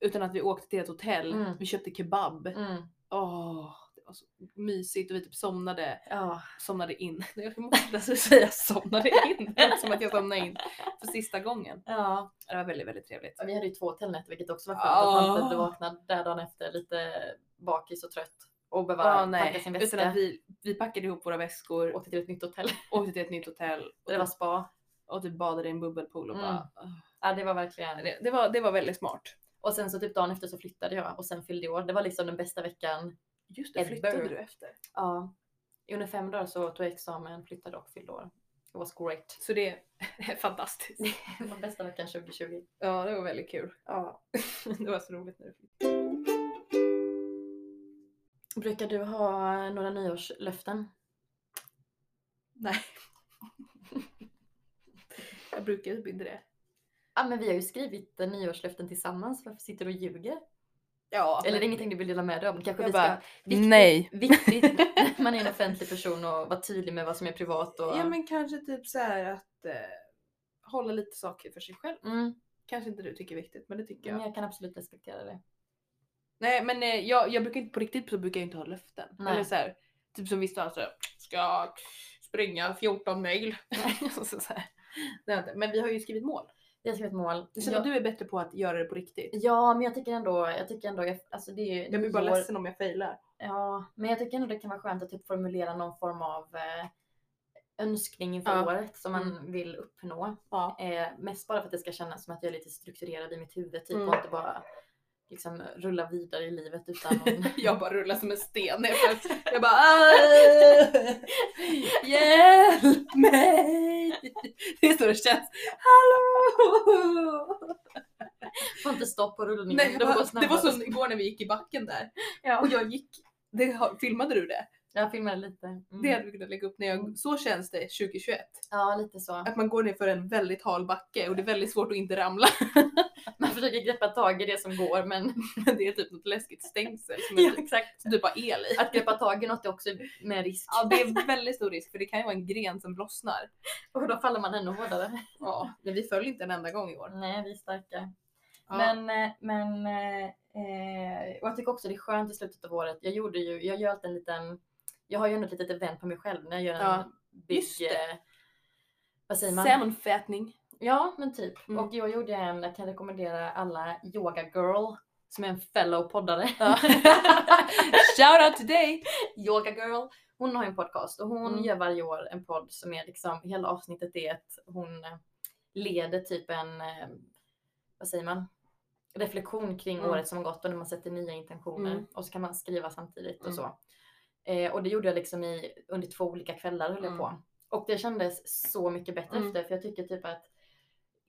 Speaker 1: utan att vi åkte till ett hotell,
Speaker 2: Mm.
Speaker 1: vi köpte kebab.
Speaker 2: mm,
Speaker 1: Åh, det var så mysigt och vi typ somnade,
Speaker 2: ja.
Speaker 1: somnade in. Jag måste nästan säga somnade in. Det låter som att jag somnade in för sista gången.
Speaker 2: ja.
Speaker 1: Det var väldigt, väldigt trevligt.
Speaker 2: Och Vi hade ju två hotellnätter vilket också var skönt att
Speaker 1: Ah.
Speaker 2: man behövde vakna där dagen efter lite bakis och trött och behöva
Speaker 1: Ja,
Speaker 2: packa
Speaker 1: nej. Utan
Speaker 2: sin
Speaker 1: att
Speaker 2: väska. Vi...
Speaker 1: vi, vi packade ihop våra väskor
Speaker 2: Åkte till ett nytt hotell
Speaker 1: åkte till ett nytt hotell och, typ,
Speaker 2: där det var spa.
Speaker 1: och typ badade i en bubbelpool och
Speaker 2: Mm.
Speaker 1: bara...
Speaker 2: Ja, det var verkligen.
Speaker 1: Det, det, var, det var väldigt smart.
Speaker 2: Och sen så typ dagen efter så flyttade jag och sen fyllde jag år. Det var liksom den bästa veckan.
Speaker 1: Just det,
Speaker 2: Ett
Speaker 1: flyttade
Speaker 2: burr.
Speaker 1: du efter?
Speaker 2: Ja. I under fem dagar så tog jag examen, flyttade och fyllde år. It was great.
Speaker 1: Så det är fantastiskt.
Speaker 2: Det var bästa veckan 2020.
Speaker 1: Ja, det var väldigt kul.
Speaker 2: Ja.
Speaker 1: det var så roligt när du flyttade.
Speaker 2: Brukar du ha några nyårslöften?
Speaker 1: Nej. jag brukar typ inte det.
Speaker 2: Ja men vi har ju skrivit eh, nyårslöften tillsammans. Varför sitter du och ljuger?
Speaker 1: Ja,
Speaker 2: Eller är det ingenting du vill dela med dig om? Kanske
Speaker 1: Jag
Speaker 2: vi
Speaker 1: bara,
Speaker 2: ska... Viktigt,
Speaker 1: nej.
Speaker 2: Viktigt när man är en offentlig person och vara tydlig med vad som är privat och...
Speaker 1: Ja, men kanske typ så här att eh, hålla lite saker för sig själv.
Speaker 2: Mm,
Speaker 1: Kanske inte du tycker är viktigt, men det tycker jag.
Speaker 2: men jag kan absolut respektera det.
Speaker 1: Nej men eh, jag, jag brukar inte på riktigt så brukar jag inte ha löften.
Speaker 2: Nej.
Speaker 1: Eller så här, typ som vissa har så här, ska springa 14 mil. Och så så här. Det har jag inte. men vi har ju skrivit mål.
Speaker 2: Jag skrev ett mål.
Speaker 1: Det känns
Speaker 2: Ja,
Speaker 1: att du är bättre på att göra det på riktigt.
Speaker 2: ja men jag tycker ändå, jag tycker ändå, jag, alltså det är ju
Speaker 1: Jag blir bara
Speaker 2: nyår-
Speaker 1: ledsen om jag failar.
Speaker 2: Ja, men jag tycker ändå det kan vara skönt att typ formulera någon form av eh, önskning inför
Speaker 1: Ja. Mm.
Speaker 2: året som man vill uppnå.
Speaker 1: Ja.
Speaker 2: Eh, mest bara för att det ska kännas som att jag är lite strukturerad i mitt huvud typ,
Speaker 1: Mm.
Speaker 2: och inte bara liksom rulla vidare i livet utan någon...
Speaker 1: Jag bara rullar som en sten. Jag bara, jag bara "Aj! Hjälp mig! Det är så det känns. Hallå!
Speaker 2: får inte stopp på rullningen.
Speaker 1: Nej, det, var, det var
Speaker 2: snabbare.
Speaker 1: som igår när vi gick i backen där.
Speaker 2: Ja.
Speaker 1: Och jag gick, det, har- filmade du det?
Speaker 2: Jag filmade lite. Mm.
Speaker 1: Det hade vi kunnat lägga upp när jag, så känns det 2021.
Speaker 2: Ja, lite så.
Speaker 1: Att man går ner för en väldigt hal backe och det är väldigt svårt att inte ramla.
Speaker 2: Man försöker greppa tag i det som går men
Speaker 1: Men det är typ något läskigt stängsel som är
Speaker 2: ja,
Speaker 1: typ,
Speaker 2: exakt.
Speaker 1: som typ har el i.
Speaker 2: Att greppa tag i något är också med risk.
Speaker 1: Ja, det är väldigt stor risk för det kan ju vara en gren som lossnar.
Speaker 2: Och då faller man ännu hårdare.
Speaker 1: Ja, men vi föll inte en enda gång i år.
Speaker 2: Nej, vi är starka.
Speaker 1: Ja.
Speaker 2: Men, eh, men eh, eh, och jag tycker också det är skönt i slutet av året. Jag gjorde ju, jag gör alltid en liten, jag har ju ändå ett litet event på mig själv när jag gör en
Speaker 1: Ja,
Speaker 2: big,
Speaker 1: just det.
Speaker 2: eh, vad säger man?
Speaker 1: Sammanfattning.
Speaker 2: Ja, men typ.
Speaker 1: Mm.
Speaker 2: Och jag gjorde en, jag kan rekommendera alla Yoga Girl som är en fellow poddare.
Speaker 1: Ja. Shout out till dig!
Speaker 2: Yoga Girl, hon har ju en podcast och hon
Speaker 1: Mm.
Speaker 2: gör varje år en podd som är liksom, hela avsnittet är att hon eh, leder typ en, eh, vad säger man, reflektion kring
Speaker 1: Mm.
Speaker 2: året som har gått och när man sätter nya intentioner
Speaker 1: Mm.
Speaker 2: och så kan man skriva samtidigt och
Speaker 1: Mm.
Speaker 2: så. Eh, och det gjorde jag liksom i, under två olika kvällar höll jag
Speaker 1: Mm.
Speaker 2: på. Och det kändes så mycket bättre
Speaker 1: Mm.
Speaker 2: efter för jag tycker typ att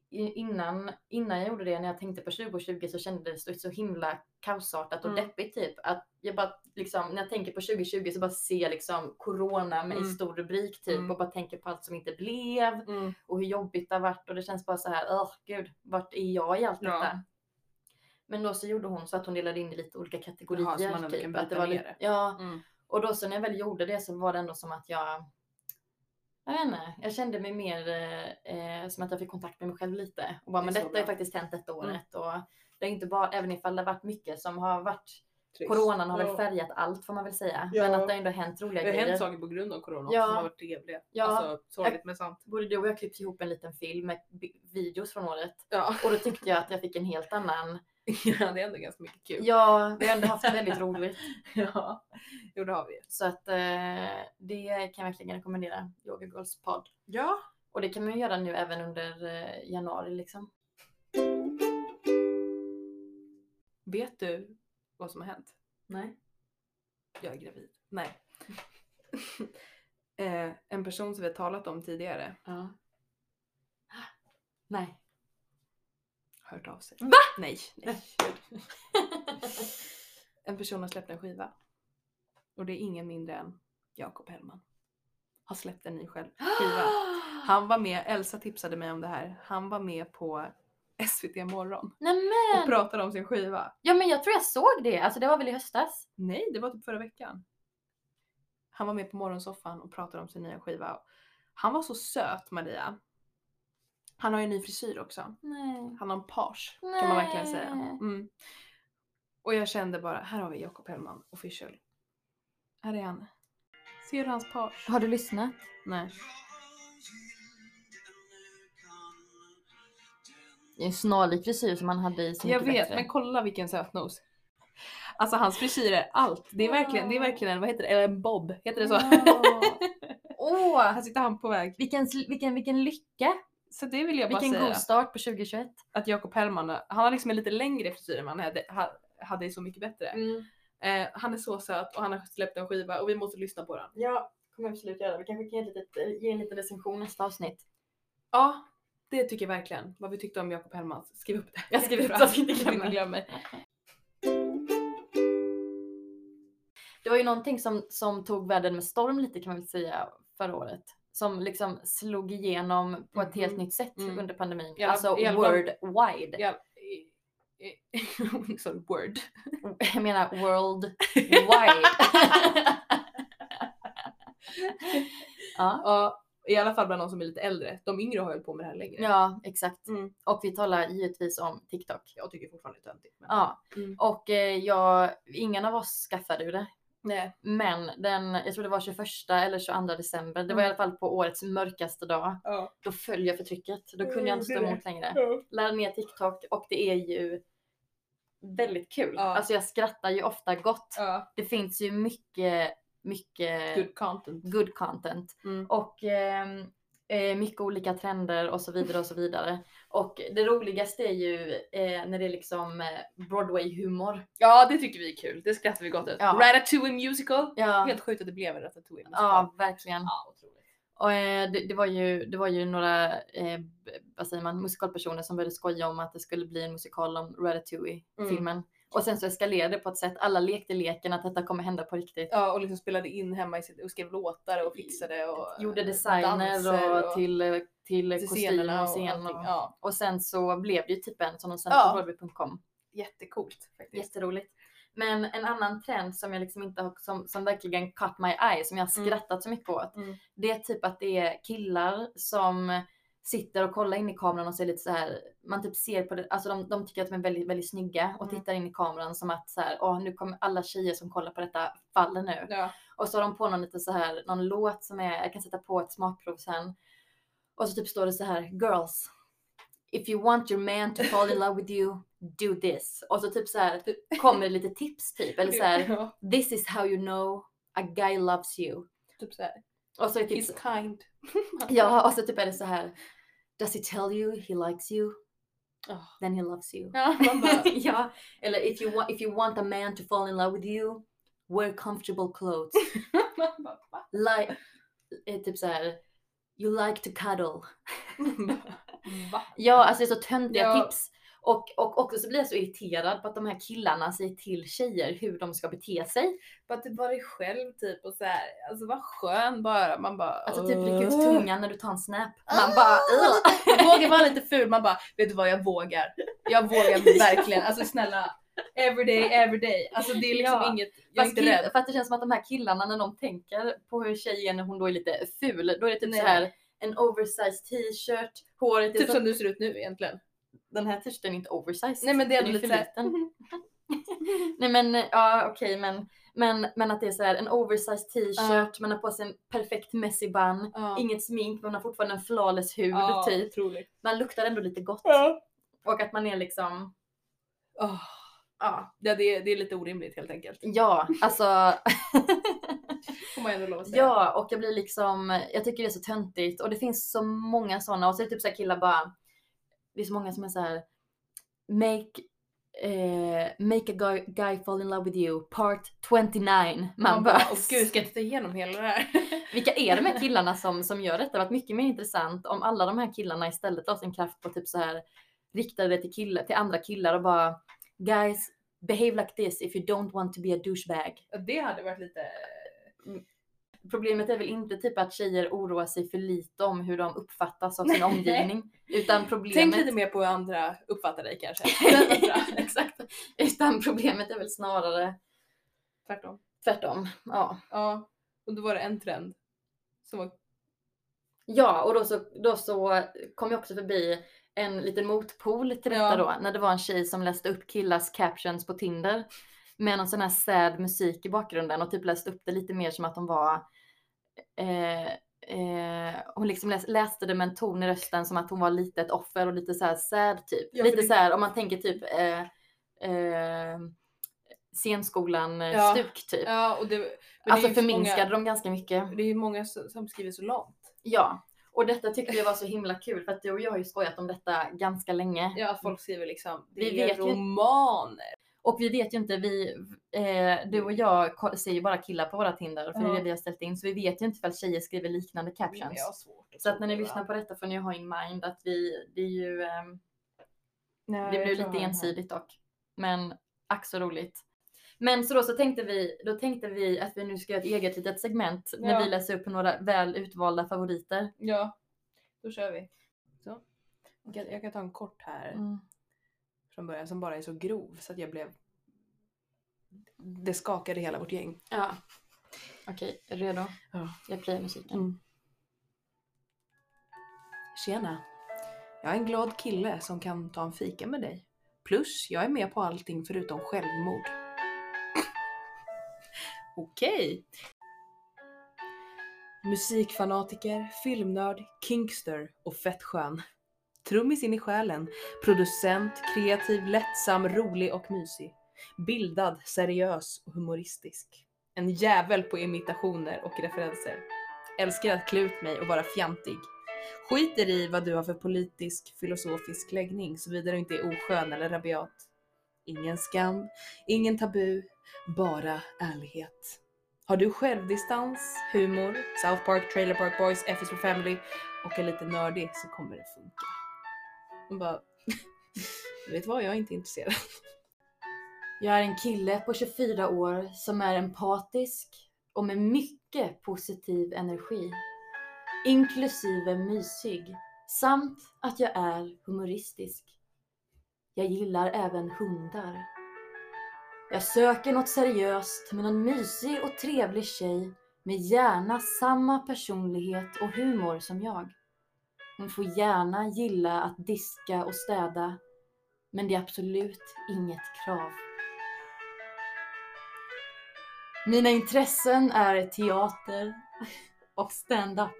Speaker 2: i- innan, innan jag gjorde det, när jag tänkte på 2020 så kändes det så himla kaosartat och
Speaker 1: Mm.
Speaker 2: deppigt typ. Att jag bara liksom, när jag tänker på 2020 så bara ser jag liksom corona med i
Speaker 1: Mm.
Speaker 2: stor rubrik typ
Speaker 1: Mm.
Speaker 2: och bara tänker på allt som inte blev och hur jobbigt det har varit och det känns bara så här, åh gud, vart är jag i allt
Speaker 1: Ja.
Speaker 2: detta? Men då så gjorde hon så att hon delade in i lite olika kategorier.
Speaker 1: Jaha, så man ändå
Speaker 2: typ,
Speaker 1: kan
Speaker 2: att det
Speaker 1: bryta
Speaker 2: var
Speaker 1: ner
Speaker 2: lite,
Speaker 1: det.
Speaker 2: ja,
Speaker 1: Mm.
Speaker 2: och då så när jag väl gjorde det så var det ändå som att jag jag vet inte, jag kände mig mer eh, eh, som att jag fick kontakt med mig själv lite. Och bara,
Speaker 1: Det är
Speaker 2: men
Speaker 1: så
Speaker 2: detta
Speaker 1: bra. Mm.
Speaker 2: har faktiskt hänt detta året. Och det är inte bara, även ifall det har varit mycket som har varit,
Speaker 1: Trist.
Speaker 2: coronan har
Speaker 1: Ja.
Speaker 2: väl färgat allt får man väl säga.
Speaker 1: Ja.
Speaker 2: Men att det ändå har hänt roliga
Speaker 1: Det har
Speaker 2: grejer.
Speaker 1: hänt saker på grund av corona
Speaker 2: Ja.
Speaker 1: också som har varit trevliga.
Speaker 2: Ja.
Speaker 1: Alltså sorgligt men sant.
Speaker 2: Både du och jag klippte ihop en liten film med bi- videos från året.
Speaker 1: Ja.
Speaker 2: Och då tyckte jag att jag fick en helt annan...
Speaker 1: ja, det är ändå ganska mycket kul.
Speaker 2: Ja, vi har ändå haft väldigt roligt.
Speaker 1: Ja. Jo, det har vi.
Speaker 2: Så att eh, det kan jag verkligen rekommendera. Yoga Girls podd.
Speaker 1: Ja.
Speaker 2: Och det kan man ju göra nu även under eh, januari liksom.
Speaker 1: Vet du vad som har hänt?
Speaker 2: Nej.
Speaker 1: Jag är gravid. Nej. eh, en person som vi har talat om tidigare
Speaker 2: Ja. Nej.
Speaker 1: har hört av sig.
Speaker 2: Va?
Speaker 1: Nej. nej. En person har släppt en skiva. Och det är ingen mindre än Jakob Hellman. Har släppt en ny själv skiva. Han var med, Elsa tipsade mig om det här. Han var med på SVT morgon och
Speaker 2: Nämen!
Speaker 1: pratade om sin skiva.
Speaker 2: Ja men jag tror jag såg det. Alltså det var väl i höstas?
Speaker 1: Nej, det var typ förra veckan. Han var med på morgonsoffan och pratade om sin nya skiva. Han var så söt Maria. Han har ju en ny frisyr också.
Speaker 2: Nej.
Speaker 1: Han har en page kan man verkligen säga.
Speaker 2: Nej.
Speaker 1: Mm. Och jag kände bara, här har vi Jakob Hellman official. Här är han. Ser du hans page?
Speaker 2: Har du lyssnat?
Speaker 1: Nej.
Speaker 2: Det är en snarlik frisyr som han hade i Så
Speaker 1: Jag
Speaker 2: Mycket
Speaker 1: vet,
Speaker 2: Bättre.
Speaker 1: men kolla vilken sötnos. Alltså hans frisyr är allt. Det är verkligen, det är verkligen en, vad heter det, Eller en bob? Heter det så?
Speaker 2: Mm. Åh! alltså,
Speaker 1: Här sitter han på väg.
Speaker 2: vilken, vilken, vilken lycka!
Speaker 1: Så det vill jag bara
Speaker 2: Vilken
Speaker 1: säga.
Speaker 2: god start på 2021.
Speaker 1: att Jakob Hellman, han har liksom en lite längre frisyr än vad han hade, ha- hade i Så Mycket Bättre. Eh, han är så söt och han har släppt en skiva och vi måste lyssna på den.
Speaker 2: Ja, kommer jag absolut göra. Vi kanske kan ge, lite, eh, ge en liten recension nästa avsnitt.
Speaker 1: Ja, det tycker jag verkligen. Vad vi tyckte om Jakob Hellman. Skriv upp det.
Speaker 2: Jag skriver upp så att vi inte glömmer.
Speaker 1: glömmer.
Speaker 2: Det var ju någonting som, som tog världen med storm lite kan man väl säga förra året. Som liksom slog igenom på ett helt
Speaker 1: Mhm.
Speaker 2: nytt sätt
Speaker 1: Mm.
Speaker 2: under pandemin.
Speaker 1: I alla-
Speaker 2: alltså
Speaker 1: i alla fall-
Speaker 2: worldwide.
Speaker 1: Ja, i- i- sorry, word.
Speaker 2: Jag menar worldwide. ja.
Speaker 1: Ja, i alla fall bland de som är lite äldre. De yngre har hållit på med det här längre.
Speaker 2: ja, exakt.
Speaker 1: Mm.
Speaker 2: Och vi talar givetvis om TikTok.
Speaker 1: Jag tycker fortfarande det är töntigt. men-
Speaker 2: Ja,
Speaker 1: Mm.
Speaker 2: och eh, jag, ingen av oss skaffade ju det.
Speaker 1: Nej.
Speaker 2: Men den, jag tror det var 21 eller 22 december, det var i
Speaker 1: Mm.
Speaker 2: alla fall på årets mörkaste dag.
Speaker 1: Ja.
Speaker 2: Då föll jag för trycket. Då kunde
Speaker 1: Mm,
Speaker 2: jag inte stå
Speaker 1: det är
Speaker 2: emot längre.
Speaker 1: Ja.
Speaker 2: Laddade ner TikTok och det är ju väldigt kul.
Speaker 1: Ja.
Speaker 2: Alltså jag skrattar ju ofta gott.
Speaker 1: ja.
Speaker 2: Det finns ju mycket, mycket good,
Speaker 1: Good content.
Speaker 2: content.
Speaker 1: Mm.
Speaker 2: Och ehm, eh, mycket olika trender och så vidare och så vidare. Och det roligaste är ju eh, när det är liksom eh, Broadway-humor.
Speaker 1: Ja, det tycker vi är kul. Det skrattar vi gott åt.
Speaker 2: Ja.
Speaker 1: Ratatouille musical.
Speaker 2: Ja,
Speaker 1: Helt sjukt att det blev en ratatouille
Speaker 2: ja, verkligen.
Speaker 1: ja, otroligt.
Speaker 2: Och, eh, det, det, var ju, det var ju några eh, b- vad säger man, musikalpersoner som började skoja om att det skulle bli en musikal om Ratatouille-filmen. Och sen så eskalerade det på ett sätt. Alla lekte leken att detta kommer hända på riktigt.
Speaker 1: Ja, och liksom spelade in hemma i sitt, och skrev låtar och fixade och
Speaker 2: Gjorde
Speaker 1: eh,
Speaker 2: designer
Speaker 1: danser
Speaker 2: Äh, och, till, eh, till,
Speaker 1: till
Speaker 2: kostymer och scen.
Speaker 1: allting.
Speaker 2: Och,
Speaker 1: Ja,
Speaker 2: och sen så blev det ju typ en som de sände
Speaker 1: Ja.
Speaker 2: på Broadway.com.
Speaker 1: jättecoolt faktiskt.
Speaker 2: Jätteroligt. Men en annan trend som jag liksom inte har, som, som verkligen cut my eye, som jag har
Speaker 1: Mm.
Speaker 2: skrattat så mycket åt.
Speaker 1: Mm.
Speaker 2: Det är typ att det är killar som sitter och kollar in i kameran och ser lite så här. Man typ ser på det, alltså de, de tycker att de är väldigt, väldigt snygga och
Speaker 1: Mm.
Speaker 2: tittar in i kameran som att så här, åh nu kommer alla tjejer som kollar på detta faller nu.
Speaker 1: Ja.
Speaker 2: Och så har de på någon lite så här, någon låt som är, jag kan sätta på ett smakprov sen. Och så typ står det så här, girls. If you want your man to fall in love with you, do this. Och så typ så här kommer det lite tips typ. Eller så här,
Speaker 1: Ja,
Speaker 2: this is how you know a guy loves you.
Speaker 1: typ såhär.
Speaker 2: Och så är det typ,
Speaker 1: He's kind.
Speaker 2: ja, och så typ är det så här, does he tell you he likes you,
Speaker 1: Ja.
Speaker 2: then he loves you.
Speaker 1: Ja, man bara,
Speaker 2: ja, eller if you, want, if you want a man to fall in love with you, wear comfortable clothes.
Speaker 1: man bara, va?
Speaker 2: like, eh, typ så här. You like to cuddle.
Speaker 1: va?
Speaker 2: Ja, alltså det är så töntiga
Speaker 1: Ja.
Speaker 2: tips. Och, och också så blir jag så irriterad på att de här killarna säger till tjejer hur de ska bete sig.
Speaker 1: Bara typ var dig själv typ och såhär, alltså vad skön bara. Man bara
Speaker 2: Alltså typ ryck
Speaker 1: "Åh." Ah!
Speaker 2: ut tungan när du tar en snap. Man bara "Ugh."
Speaker 1: Vågar vara lite ful, man bara vet du vad jag vågar. Jag vågar verkligen. Alltså snälla. Everyday, everyday. Alltså det är liksom
Speaker 2: Ja.
Speaker 1: inget, jag är
Speaker 2: Fast alltså,
Speaker 1: inte
Speaker 2: kill-
Speaker 1: rädd.
Speaker 2: För att det känns som att de här killarna när de tänker på hur tjejen när hon då är lite ful, då är det typ
Speaker 1: Nej.
Speaker 2: så här en oversized t-shirt, håret är
Speaker 1: Typ
Speaker 2: så...
Speaker 1: som du ser ut nu egentligen.
Speaker 2: Den här t-shirten är inte oversized.
Speaker 1: Nej men det är
Speaker 2: Den
Speaker 1: ändå lite
Speaker 2: för
Speaker 1: såhär.
Speaker 2: liten. Nej men ja okej men, men, men att det är så här en oversized t-shirt, man har på sig en perfekt messy bun,
Speaker 1: Ja.
Speaker 2: inget smink men man har fortfarande en flawless hud
Speaker 1: Ja,
Speaker 2: typ.
Speaker 1: otroligt.
Speaker 2: Man luktar ändå lite gott och att man är liksom
Speaker 1: Åh,
Speaker 2: ja,
Speaker 1: Ja, det, är, det är lite orimligt helt enkelt.
Speaker 2: ja alltså
Speaker 1: Får man ändå lov att säga.
Speaker 2: ja och jag blir liksom, jag tycker det är så töntigt och det finns så många sådana och så är det typ så här killar bara, det är så många som är så här make eh, make a guy, guy fall in love with you, part 29. Man,
Speaker 1: Man bara,
Speaker 2: bara,
Speaker 1: åh gud ska jag titta igenom hela det här?
Speaker 2: Vilka är de här killarna som, som gör detta? Det hade varit mycket mer intressant om alla de här killarna istället la sin kraft på typ så här riktade det till, killar, till andra killar och bara guys behave like this if you don't want to be a douchebag.
Speaker 1: Det hade varit lite...
Speaker 2: Problemet är väl inte typ att tjejer oroar sig för lite om hur de uppfattas av sin omgivning utan
Speaker 1: Tänk
Speaker 2: problemet
Speaker 1: lite mer på hur andra uppfattar dig kanske.
Speaker 2: Exakt. Utan problemet är väl snarare
Speaker 1: Tvärtom.
Speaker 2: tvärtom. Ja.
Speaker 1: Ja, och då var det en trend. Som var...
Speaker 2: Typ. Ja, och då så, då så kom jag också förbi en liten motpol till detta
Speaker 1: Ja.
Speaker 2: då, när det var en tjej som läste upp killars captions på Tinder med någon sån här sad musik i bakgrunden och typ läste upp det lite mer som att de var eh, eh, hon liksom läs, läste det med en ton i rösten som att hon var lite ett offer och lite så här sad typ.
Speaker 1: Ja, för
Speaker 2: lite
Speaker 1: det-
Speaker 2: så här om man tänker typ eh, eh, scenskolan eh,
Speaker 1: Ja.
Speaker 2: stuk typ.
Speaker 1: Ja, och det, men det är
Speaker 2: alltså
Speaker 1: ju så
Speaker 2: förminskade
Speaker 1: många-
Speaker 2: de ganska mycket.
Speaker 1: Det är ju många som som skriver så långt.
Speaker 2: Ja, och detta tyckte jag var så himla kul för att du och jag har ju skojat om detta ganska länge.
Speaker 1: Ja, folk skriver liksom, det
Speaker 2: Mm. Vi
Speaker 1: är
Speaker 2: vet ju-
Speaker 1: romaner.
Speaker 2: Och vi vet ju inte, vi, eh, du och jag ko- ser ju bara killar på våra Tinder för det är
Speaker 1: Ja.
Speaker 2: det vi har ställt in. Så vi vet ju inte ifall tjejer skriver liknande captions.
Speaker 1: Jag har svårt
Speaker 2: Så att när ni lyssnar på detta får ni ha in mind att vi, det är ju, ehm,
Speaker 1: Nej,
Speaker 2: det
Speaker 1: jag
Speaker 2: blir
Speaker 1: tror
Speaker 2: lite
Speaker 1: jag-
Speaker 2: ensidigt dock. Men ack så roligt. Men så då så tänkte vi, då tänkte vi att vi nu ska göra ett eget litet segment när
Speaker 1: Ja.
Speaker 2: vi läser upp några väl utvalda favoriter.
Speaker 1: Ja, då kör vi. Så. Jag, kan, jag kan ta en kort här
Speaker 2: Mm.
Speaker 1: från början som bara är så grov så att jag blev... Det skakade hela vårt gäng.
Speaker 2: Ja. Okej, är du redo?
Speaker 1: Ja.
Speaker 2: Jag playar musiken.
Speaker 1: Mm. Tjena! Jag är en glad kille som kan ta en fika med dig. Plus, jag är med på allting förutom självmord. Okej! Musikfanatiker, filmnörd, kinkster och fettskön. Trummis in i själen, producent, kreativ, lättsam, rolig och mysig. Bildad, seriös och humoristisk. En jävel på imitationer och referenser. Älskar att klä ut mig och vara fjantig. Skiter i vad du har för politisk, filosofisk läggning såvida du inte är oskön eller rabiat. Ingen skam, ingen tabu, bara ärlighet. Har du självdistans, humor, South Park, Trailer Park Boys, FS for Family och är lite nördig så kommer det funka. Hon bara, vet du vad, jag är inte intresserad.
Speaker 2: Jag är en kille på 24 år som är empatisk och med mycket positiv energi. Inklusive mysig. Samt att jag är humoristisk. Jag gillar även hundar. Jag söker något seriöst med någon mysig och trevlig tjej med gärna samma personlighet och humor som jag. Hon får gärna gilla att diska och städa, men det är absolut inget krav. Mina intressen är teater och stand-up.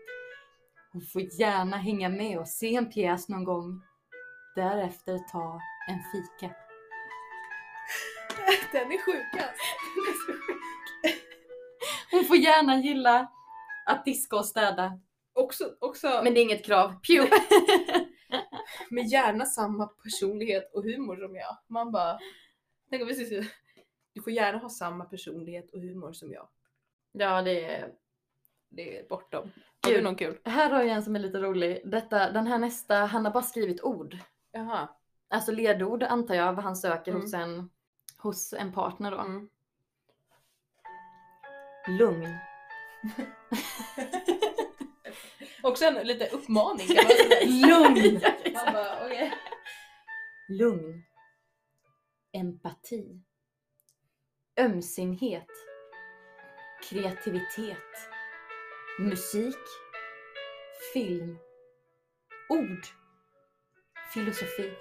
Speaker 2: Hon får gärna hänga med och se en pjäs någon gång. Därefter ta en fika.
Speaker 1: Den är sjuka.
Speaker 2: Hon får gärna gilla att diska och städa.
Speaker 1: Också, också
Speaker 2: Men det är inget krav. Pew!
Speaker 1: med gärna samma personlighet och humor som jag. Man bara, tänk om vi ses Du får gärna ha samma personlighet och humor som jag.
Speaker 2: Ja, det är...
Speaker 1: Det är bortom. Har du
Speaker 2: Gud.
Speaker 1: någon kul?
Speaker 2: Här har jag en som är lite rolig. Detta, den här nästa, han har bara skrivit ord.
Speaker 1: Jaha.
Speaker 2: Alltså ledord antar jag, vad han söker
Speaker 1: Mm.
Speaker 2: hos, en, hos en partner då.
Speaker 1: Mm.
Speaker 2: Lugn.
Speaker 1: Också en lite uppmaning. kan man säga.
Speaker 2: Lugn!
Speaker 1: Man bara, okej.
Speaker 2: Lugn. Empati. Ömsinhet. Kreativitet. Musik. Film. Ord. Filosofi.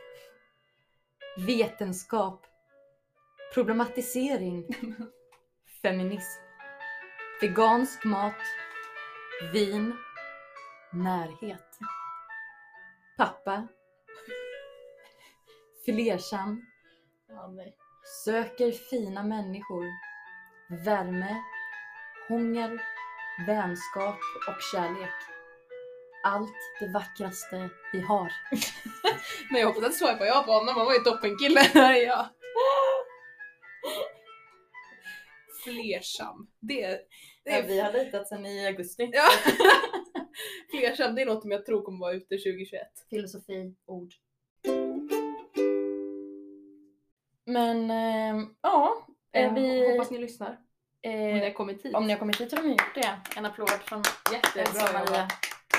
Speaker 2: Vetenskap. Problematisering. Feminism. Vegansk mat. Vin. Närhet. Pappa. Flersam.
Speaker 1: Ja, nej.
Speaker 2: Söker fina människor. Värme, hunger, vänskap och kärlek. Allt det vackraste vi har.
Speaker 1: Nej, jag hoppas att swipar jag på honom, han var ju toppenkille. Här är jag. Flersam. Det, det är
Speaker 2: har dejtat sedan i augusti.
Speaker 1: Ja. Flersam, det är något som jag tror kommer vara ute 2021.
Speaker 2: Filosofi, ord. Men eh, ja, är
Speaker 1: Eh,
Speaker 2: vi...
Speaker 1: Hoppas ni lyssnar. Om ni har
Speaker 2: eh,
Speaker 1: kommit hit.
Speaker 2: om ni har kommit hit så har ni gjort det. En applåd från
Speaker 1: Jättebra
Speaker 2: Maria.
Speaker 1: jobbat.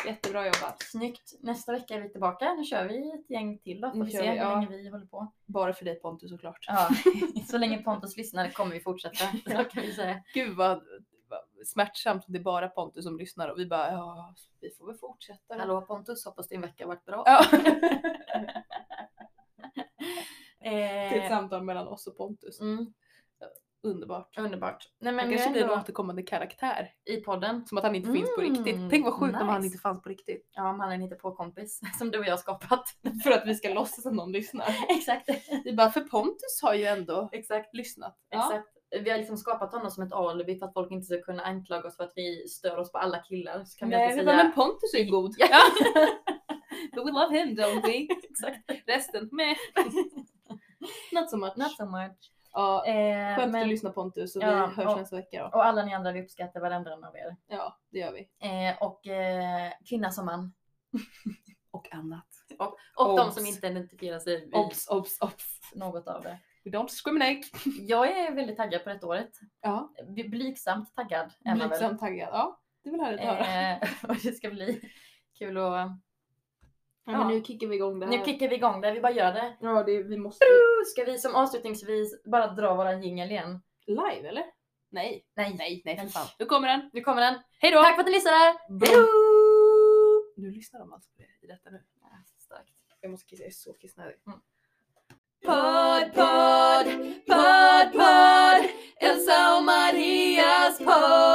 Speaker 1: Jättebra jobbat.
Speaker 2: Snyggt. Nästa vecka är vi tillbaka. Nu kör vi ett gäng till då. Får
Speaker 1: Nu
Speaker 2: vi
Speaker 1: kör
Speaker 2: se hur
Speaker 1: vi, ja.
Speaker 2: länge vi håller på.
Speaker 1: Bara för dig Pontus såklart.
Speaker 2: Ja, så länge Pontus lyssnar kommer vi fortsätta. Så kan vi säga.
Speaker 1: Gud vad, vad smärtsamt om det är bara Pontus som lyssnar och vi bara ja, vi får väl fortsätta. då."
Speaker 2: Hallå Pontus, hoppas din vecka har varit bra.
Speaker 1: Ja. Det är ett
Speaker 2: Eh,
Speaker 1: samtal mellan oss och Pontus.
Speaker 2: mm,
Speaker 1: Underbart.
Speaker 2: underbart. Nej,
Speaker 1: Han
Speaker 2: men
Speaker 1: kanske
Speaker 2: kanske
Speaker 1: blir en
Speaker 2: ändå
Speaker 1: återkommande karaktär.
Speaker 2: i podden.
Speaker 1: Som att han inte finns på
Speaker 2: Mm,
Speaker 1: riktigt. Tänk vad sjukt om han
Speaker 2: nice.
Speaker 1: inte fanns på riktigt.
Speaker 2: Ja, mannen hittar på kompis som du och jag har skapat.
Speaker 1: För att vi ska låtsas att någon lyssnar.
Speaker 2: Exakt.
Speaker 1: Vi bara, för Pontus har ju ändå
Speaker 2: Exakt.
Speaker 1: lyssnat.
Speaker 2: Exakt. Vi har liksom skapat honom som ett alibi för att folk inte ska kunna anklaga oss för att vi stör oss på alla killar. Så kan vi
Speaker 1: Nej,
Speaker 2: alltid
Speaker 1: vi
Speaker 2: säga...
Speaker 1: bara, men Pontus är ju god.
Speaker 2: Ja.
Speaker 1: But we love him don't we?
Speaker 2: Exakt.
Speaker 1: Resten, med. Not so much.
Speaker 2: Not so much.
Speaker 1: Ja,
Speaker 2: Eh,
Speaker 1: skönt att
Speaker 2: men-
Speaker 1: du lyssnar Pontus och
Speaker 2: Ja,
Speaker 1: vi hörs
Speaker 2: och-
Speaker 1: nästa vecka då.
Speaker 2: Och alla ni andra, vi uppskattar varenda en av er.
Speaker 1: Ja, det gör vi.
Speaker 2: Eh, och eh, kvinna som man.
Speaker 1: Och annat.
Speaker 2: Och de
Speaker 1: Obs.
Speaker 2: som inte identifierar sig vid
Speaker 1: Obs, obs, obs.
Speaker 2: något av det.
Speaker 1: We don't discriminate.
Speaker 2: Jag är väldigt taggad på detta året.
Speaker 1: Ja,
Speaker 2: Bly- Blygsamt taggad är man väl.
Speaker 1: blygsamt taggad. Ja, det är väl härligt att höra.
Speaker 2: Eh, och det ska bli kul att...
Speaker 1: Ja, men nu kickar vi igång det här.
Speaker 2: Nu kickar vi igång det, vi bara gör det.
Speaker 1: Ja, det, vi måste
Speaker 2: Ska vi som avslutningsvis bara dra våran jingel igen?
Speaker 1: Live eller? Nej,
Speaker 2: Nej,
Speaker 1: nej, nej för
Speaker 2: Nej.
Speaker 1: fan. Nu kommer den.
Speaker 2: nu kommer den.
Speaker 1: Hej då!
Speaker 2: Tack för att ni lyssnade!
Speaker 1: Hejdå!
Speaker 2: Hejdå!
Speaker 1: Nu lyssnar de alltså på det i detta nu.
Speaker 2: Starkt.
Speaker 1: Jag måste kissa, jag är så kissnödig.
Speaker 2: Mm.
Speaker 1: Podd, podd, podd, podd. Elsa och Marias podd.